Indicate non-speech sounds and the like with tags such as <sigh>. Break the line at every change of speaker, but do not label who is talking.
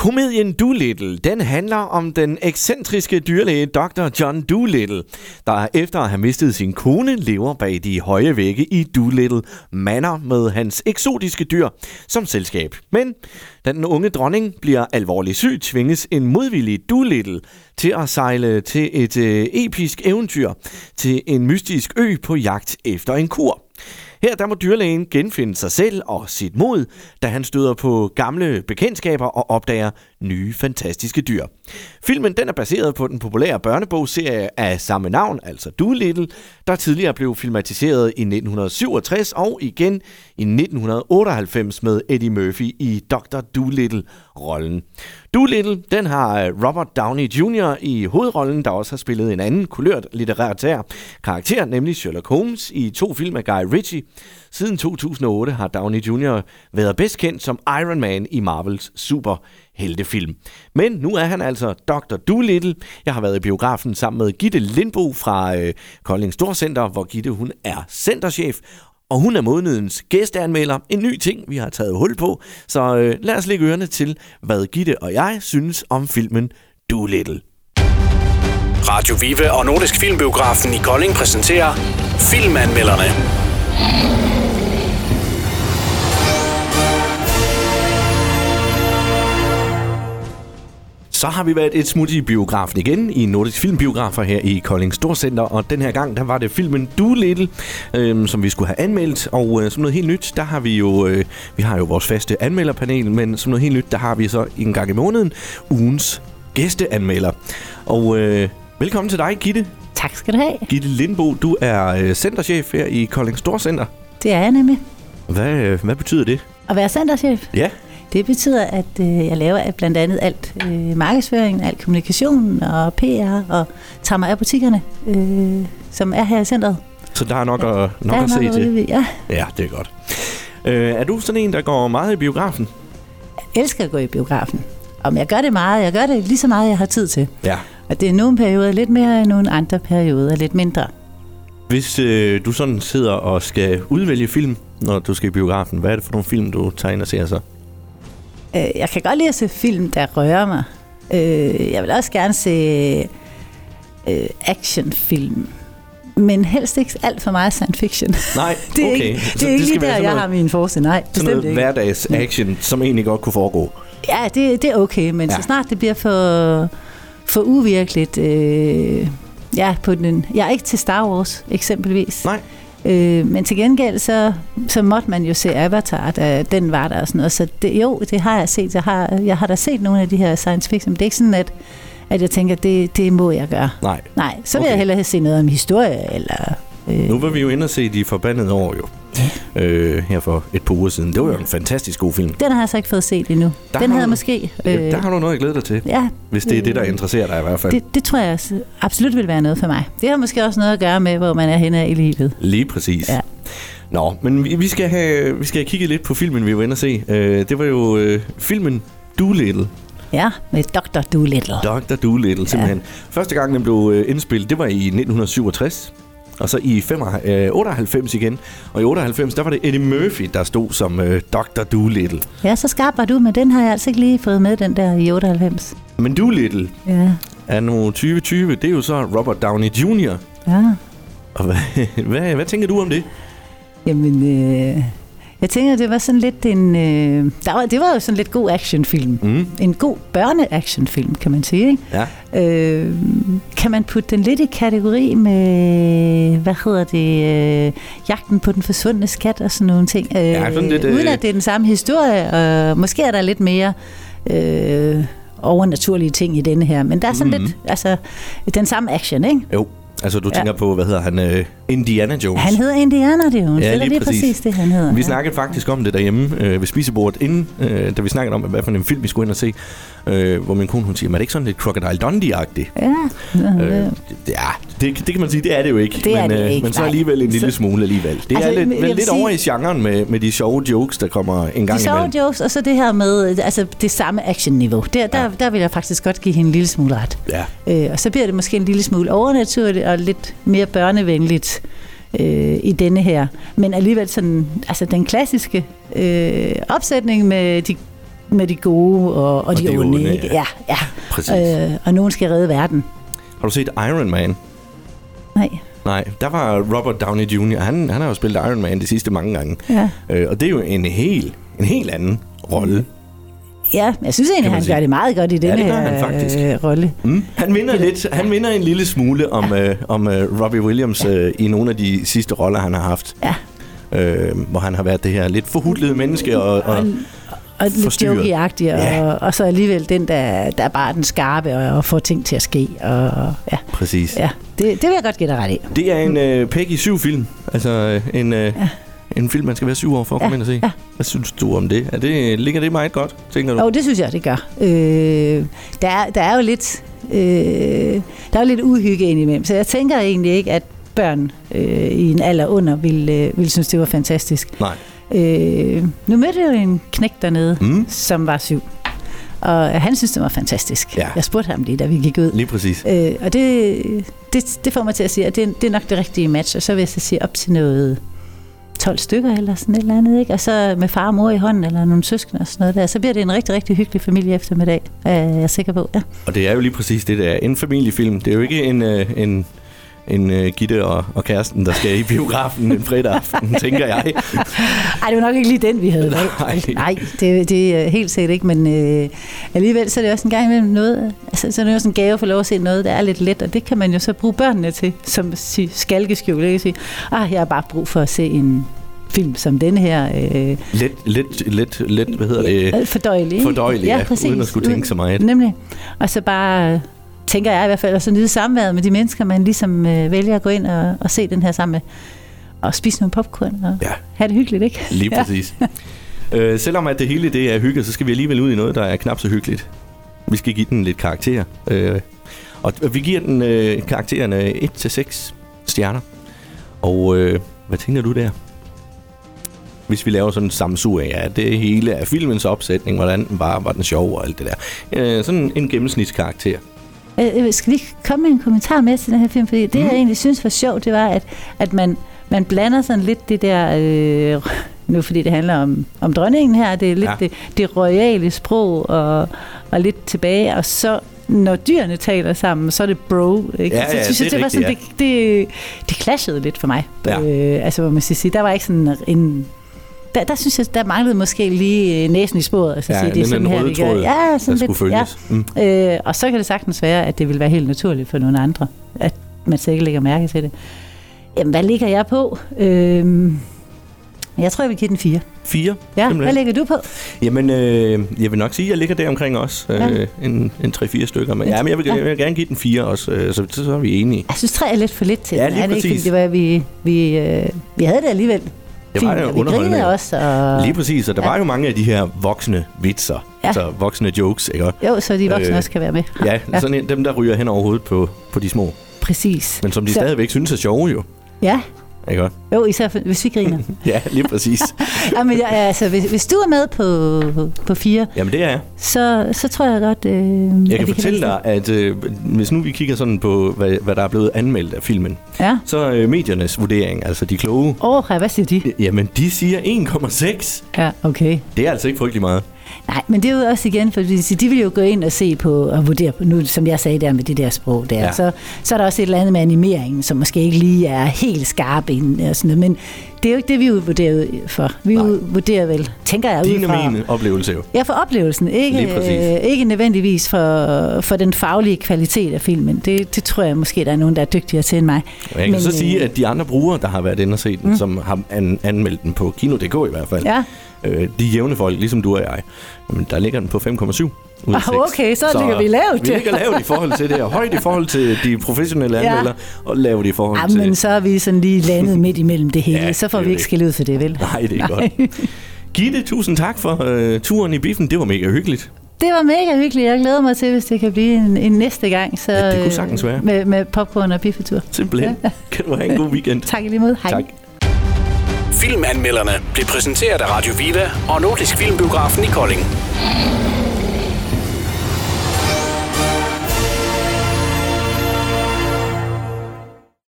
Komedien Doolittle, den handler om den ekscentriske dyrlæge Dr. John Doolittle, der efter at have mistet sin kone, lever bag de høje vægge i Doolittle Manor med hans eksotiske dyr som selskab. Men da den unge dronning bliver alvorligt syg, tvinges en modvillig Doolittle til at sejle til et øh, episk eventyr til en mystisk ø på jagt efter en kur. Her der må dyrlægen genfinde sig selv og sit mod, da han støder på gamle bekendtskaber og opdager nye fantastiske dyr. Filmen den er baseret på den populære børnebogsserie af samme navn, altså Doolittle, der tidligere blev filmatiseret i 1967 og igen i 1998 med Eddie Murphy i Dr. Doolittle-rollen. Doolittle, den har øh, Robert Downey Jr. i hovedrollen, der også har spillet en anden kulørt litterær karakter, nemlig Sherlock Holmes i to film af Guy Ritchie. Siden 2008 har Downey Jr. været bedst kendt som Iron Man i Marvels superheltefilm. Men nu er han altså Dr. Doolittle. Jeg har været i biografen sammen med Gitte Lindbo fra øh, Kolding Storcenter, hvor Gitte hun er centerchef, og hun er månedens gæsteanmelder. En ny ting, vi har taget hul på. Så øh, lad os lægge ørerne til, hvad Gitte og jeg synes om filmen Doolittle.
Radio Vive og Nordisk Filmbiografen i Kolding præsenterer Filmanmelderne.
Så har vi været et smut i biografen igen, i Nordisk Filmbiografer her i Kolding Storcenter, og den her gang, der var det filmen Doolittle, øhm, som vi skulle have anmeldt, og øh, som noget helt nyt, der har vi jo, øh, vi har jo vores faste anmelderpanel, men som noget helt nyt, der har vi så en gang i måneden ugens gæsteanmelder. Og øh, velkommen til dig, Gitte.
Tak skal du have.
Gitte Lindbo, du er øh, centerchef her i Kolding Storcenter.
Det er jeg nemlig.
Hvad, øh, hvad betyder det?
At være centerchef,
Ja,
det betyder, at øh, jeg laver alt- blandt andet alt øh, markedsføringen, alt kommunikationen og PR, og tager mig af butikkerne, øh, som er her i centret.
så der er nok at, nok
Der er
at se
noget ude
til.
ved- Ja,
Ja, det er godt. Øh, er du sådan en, der går meget i biografen?
jeg elsker at gå i biografen. Om jeg gør det meget, jeg gør det lige så meget, jeg har tid til.
Ja.
Og det er nogle perioder lidt mere, end nogle andre perioder lidt mindre.
Hvis øh, du sådan sidder og skal udvælge film, når du skal i biografen, hvad er det for nogle film, du tager ind og ser så?
Øh, jeg kan godt lide at se film, der rører mig. Øh, jeg vil også gerne se øh, actionfilm. Men helst ikke alt for meget science fiction.
Nej,
<laughs> det er
okay.
ikke,
Så
det er ikke
skal
lige der,
være sådan
jeg
noget,
har min forse. Nej,
sådan
bestemt
noget
ikke.
hverdags action, som egentlig godt kunne foregå.
Ja, det, det er okay, men ja.
Ja.
så snart det bliver for, for uvirkeligt... Øh, ja, på den, jeg er ikke til Star Wars, eksempelvis.
Nej.
Øh, men til gengæld, så, så måtte man jo se Avatar, da den var der og sådan noget. Så det, jo, det har jeg set. Jeg har, jeg har da set nogle af de her science fiction, men det er ikke sådan, at, at jeg tænker, det, det må jeg gøre.
Nej.
Nej, så vil okay.
Okay.
jeg hellere se noget om historie, eller... Øh,
Nu var vi jo inde og se De Forbandede År jo. Øh, her for et par uger siden. Det var jo en fantastisk god film.
den har jeg så ikke fået set endnu.
Der
Der den
har
havde jeg
du-
måske...
Øh, der har du noget at glæde dig til,
ja, Øh,
hvis det er det, der interesserer dig i hvert fald.
det, det tror jeg også absolut vil være noget for mig. Det har måske også noget at gøre med, hvor man er henne i livet.
Lige præcis.
Ja.
Nå, men vi, vi, skal have, vi skal have kigget lidt på filmen, vi var inde og se. Øh, det var jo øh, filmen Doolittle.
Ja, med Dr. Doolittle.
Dr. Doolittle, simpelthen. Ja. Første gang, den blev øh, indspillet, det var i 1967. Og så i 5, øh, 98 igen. Og i 98, der var det Eddie Murphy, der stod som øh, Dr. Doolittle.
Ja, så skarp var du, men den har jeg altså ikke lige fået med, den der i 98.
Men Doolittle
Ja,
er nu 2020, det er jo så Robert Downey Jr.
ja.
Og hvad, <laughs> hvad, hvad tænker du om det?
Jamen, øh, jeg tænker, det var sådan lidt en... Øh, der var, det var jo sådan lidt god actionfilm.
Mm.
En god børne-actionfilm, kan man sige. Ikke?
Ja.
Øh, kan man putte den lidt i kategori med, hvad hedder det, øh, jagten på den forsvundne skat og sådan nogle ting? Øh,
Ja, sådan lidt, øh,
Uden at det er den samme historie, og måske er der lidt mere... Øh, overnaturlige ting i denne her, men der er sådan mm. lidt, altså, den samme action, ikke?
Jo, altså du
Ja.
tænker på, hvad hedder han? Øh, Indiana Jones.
Han hedder Indiana Jones,
Ja,
eller
lige
det er
præcis.
præcis. det, han hedder.
Vi
ja.
snakkede faktisk om det derhjemme øh, ved spisebordet inden, øh, da vi snakkede om, hvad for en film vi skulle ind og se. Øh, hvor min kone hun siger, "Men er det ikke sådan lidt Crocodile Dundee-agtigt?
Ja,
Øh,
øh,
ja, det, det kan man sige, det er det jo ikke.
Det er
men, øh,
det ikke,
men så
nej.
alligevel en lille
Så-
smule alligevel. Det altså,
Altså,
er lidt,
men jeg
men
vil
lidt
sige-
over i genren med, med de sjove jokes, der kommer en gang
de sjove
imellem.
jokes, og så det her med altså, det samme actionniveau. Der, der, der vil jeg faktisk godt give hende en lille smule ret.
Ja,
Øh, og så bliver det måske en lille smule overnaturligt og lidt mere børnevenligt øh, i denne her. Men alligevel sådan, altså den klassiske øh, opsætning med de med de gode og, og, og de, de onde. onde ikke? Ja, ja.
Præcis.
ja. Øh, og nogen skal redde verden.
Har du set Iron Man?
Nej.
Nej, der var Robert Downey Jr., han, han har jo spillet Iron Man de sidste mange gange.
Ja.
Øh, og det er jo en helt, en helt anden rolle.
Ja, men jeg synes
Kan
egentlig,
man
han
sige.
gør det meget godt i den
det gør han faktisk.
her øh, rolle.
Mm. Han vinder lidt. Han vinder en lille smule om, øh, om øh, Robbie Williams øh, i nogle af de sidste roller, han har haft.
Ja.
Øh, hvor han har været det her lidt forhudlede menneske. Og, og,
Og lidt
Forstyrret.
jokey
Ja.
og, og så alligevel den, der, der er bare den skarpe og, og får ting til at ske. Og, og, ja,
præcis.
ja. Det, det vil jeg godt give dig ret i.
Det er en øh, Peggy 7-film. Altså øh, en, øh, ja. en film, man skal være syv år for at
Ja,
komme ind og se.
ja.
Hvad synes du om det? Er det? Ligger det meget godt, tænker du?
Jo, det synes jeg, det gør. Øh, der, er, der er jo lidt, øh, der er jo lidt uhygge indimellem, så jeg tænker egentlig ikke, at børn øh, i en alder under ville, øh, ville synes, det var fantastisk.
Nej.
Øh, nu mødte jeg jo en knæk dernede,
Mm.
mm. som var syv, og han synes, det var fantastisk.
Ja.
Jeg spurgte ham lige, da vi gik ud.
Lige præcis.
Øh, og det, det, det får mig til at sige, at det, det er nok det rigtige match, og så vil jeg så sige op til noget 12 stykker eller sådan et eller andet, ikke? og så med far og mor i hånden, eller nogle søskende og sådan noget der, så bliver det en rigtig, rigtig hyggelig familie eftermiddag, er jeg sikker på. Ja.
Og det er jo lige præcis det, der er. En familiefilm. Det er jo ikke en... Øh, en en øh, Gitte og, og kæresten, der skal i biografen en fredag aften, tænker jeg.
Ej, det var nok ikke lige den, vi havde valgt.
Nej.
Nej, det, det er helt sikkert ikke, men øh, alligevel så er det også en gang imellem noget, altså, så er det også en gave at få lov at se noget, der er lidt let, og det kan man jo så bruge børnene til, som sige, skalkeskjul, ikke? Sige, ah, jeg har bare brug for at se en film som den her, øh,
Let, let, let, let, hvad hedder det?
Øh, Fordøjelig. ikke?
Fordøjelig, ja, uden at skulle tænke så meget.
Nemlig. Og så bare, øh, tænker jeg i hvert fald, at så nyde samværet med de mennesker, man ligesom øh, vælger at gå ind og, og se den her sammen med. Og spise nogle popcorn og
Ja.
have det hyggeligt, ikke?
Lige præcis. øh, selvom at det hele det er hygge, så skal vi alligevel ud i noget, der er knap så hyggeligt. Vi skal give den lidt karakter. Øh, og og vi giver den øh, karaktererne 1-6 stjerner. Og øh, hvad tænker du der? Hvis vi laver sådan en samsug af, ja, det hele af filmens opsætning, hvordan var, var den sjov og alt det der. Øh, sådan en gennemsnitskarakter.
Øh, øh, skal vi ikke komme med en kommentar med til den her film? Fordi det, mm. jeg egentlig synes var sjovt, det var, at, at man, man blander sådan lidt det der... Øh, nu fordi det handler om, om dronningen her, det er lidt
Ja.
ja. det, det royale sprog og, og lidt tilbage, og så når dyrene taler sammen, så er det bro. Ikke?
Ja,
så
ja,
synes jeg,
det er
det, var sådan,
rigtigt,
det, det, det clashede lidt for mig.
Ja.
Øh, altså, hvor man skal sige, der var ikke sådan en... Der, der synes jeg, der manglede måske lige øh, næsen i sporet. Altså,
Ja,
sige, det
den
er
der
sådan her,
røde
vi gør.
tråd,
ja, sådan
der
lidt,
skulle
ja.
følges. Mm.
Øh, og så kan det sagtens være, at det vil være helt naturligt for nogle andre, at man så ikke lægger mærke til det. Jamen, hvad ligger jeg på? Øh, jeg tror, jeg vil give den 4.
4.
Ja, hvad ligger du på?
Jamen, øh, jeg vil nok sige, at jeg ligger der omkring også. Øh,
Ja.
En, en 3-4 stykker. Men, ja, men jeg, vil, jeg vil gerne give den 4 også, øh, så, så er vi enige.
Jeg synes, 3 er lidt for lidt til
Ja,
den.
lige
er det ikke,
præcis.
fordi det var, vi, vi, øh, vi havde det alligevel.
Det var
fint,
jo
og vi
underholdende.
grinede også. Og,
Lige præcis, og der ja. var jo mange af de her voksne vitser. Ja.
Ja.
Altså voksne jokes, ikke?
jo, så de voksne
Øh,
øh, også kan være med.
Ja, ja. sådan en, dem der ryger hen over hovedet på, på de små.
Præcis.
Men som de
Så-
stadigvæk synes er sjove jo.
Ja,
Ikke?
jo, især for- hvis vi griner.
<laughs> Ja, lige præcis.
<laughs> ja, men jeg, altså, hvis, hvis du er med på, på 4,
Jamen det er jeg.
så, så tror jeg godt... Øh,
Jeg
at
kan
vi
fortælle
lide
dig, at øh, hvis nu vi kigger sådan på, hvad, hvad der er blevet anmeldt af filmen,
den. Ja.
så øh, mediernes vurdering, altså de kloge,
Åh, oh, hvad siger de?
jamen de siger 1,6.
Ja, okay.
Det er altså ikke frygtelig meget.
Nej, men det er jo også igen, for de vil jo gå ind og se på og vurdere på, nu som jeg sagde der med det der sprog der,
Ja.
ja. så, så er der også et eller andet med animeringen, som måske ikke lige er helt skarp ind og sådan noget, men det er jo ikke det, vi vurderer ud for. Vi
Nej.
Nej. vurderer vel, tænker jeg ud
Din og
fra...
min oplevelse jo.
Ja, for oplevelsen.
Lige
Ikke,
præcis.
øh, ikke nødvendigvis for, for den faglige kvalitet af filmen. Det, det tror jeg måske, der er nogen, der er dygtigere til end mig.
Og jeg kan Men, så
øh,
sige, at de andre brugere, der har været inde og set den, mm. som har an- anmeldt den på Kino.dk i hvert fald,
Ja.
øh, de er jævne folk, ligesom du og jeg, jamen, der ligger den på 5,7 ud af
Ah,
6.
okay, så ligger vi lavt.
Vi ligger lavt i forhold til det, og højt i forhold til de professionelle
Ja.
anmeldere, og lavt i forhold
Ah,
til...
men så er vi sådan lige landet midt imellem det hele,
<laughs> Ja,
ja, så får
det er
vi
jo
ikke
det.
skæld ud for det, vel?
<laughs> Nej, det er godt. Gitte, tusind tak for øh, turen i biffen. Det var mega hyggeligt.
Det var mega hyggeligt. Jeg glæder mig til, hvis det kan blive en, en næste gang. Så,
Ja, det kunne
øh,
sagtens være.
Med, med popcorn og biffetur.
Simpelthen. Kan du have en god weekend.
Tak i lige måde. Hej.
tak.
Filmanmelderne blev præsenteret af Radio Viva og Nordisk Filmbiografen i Kolding.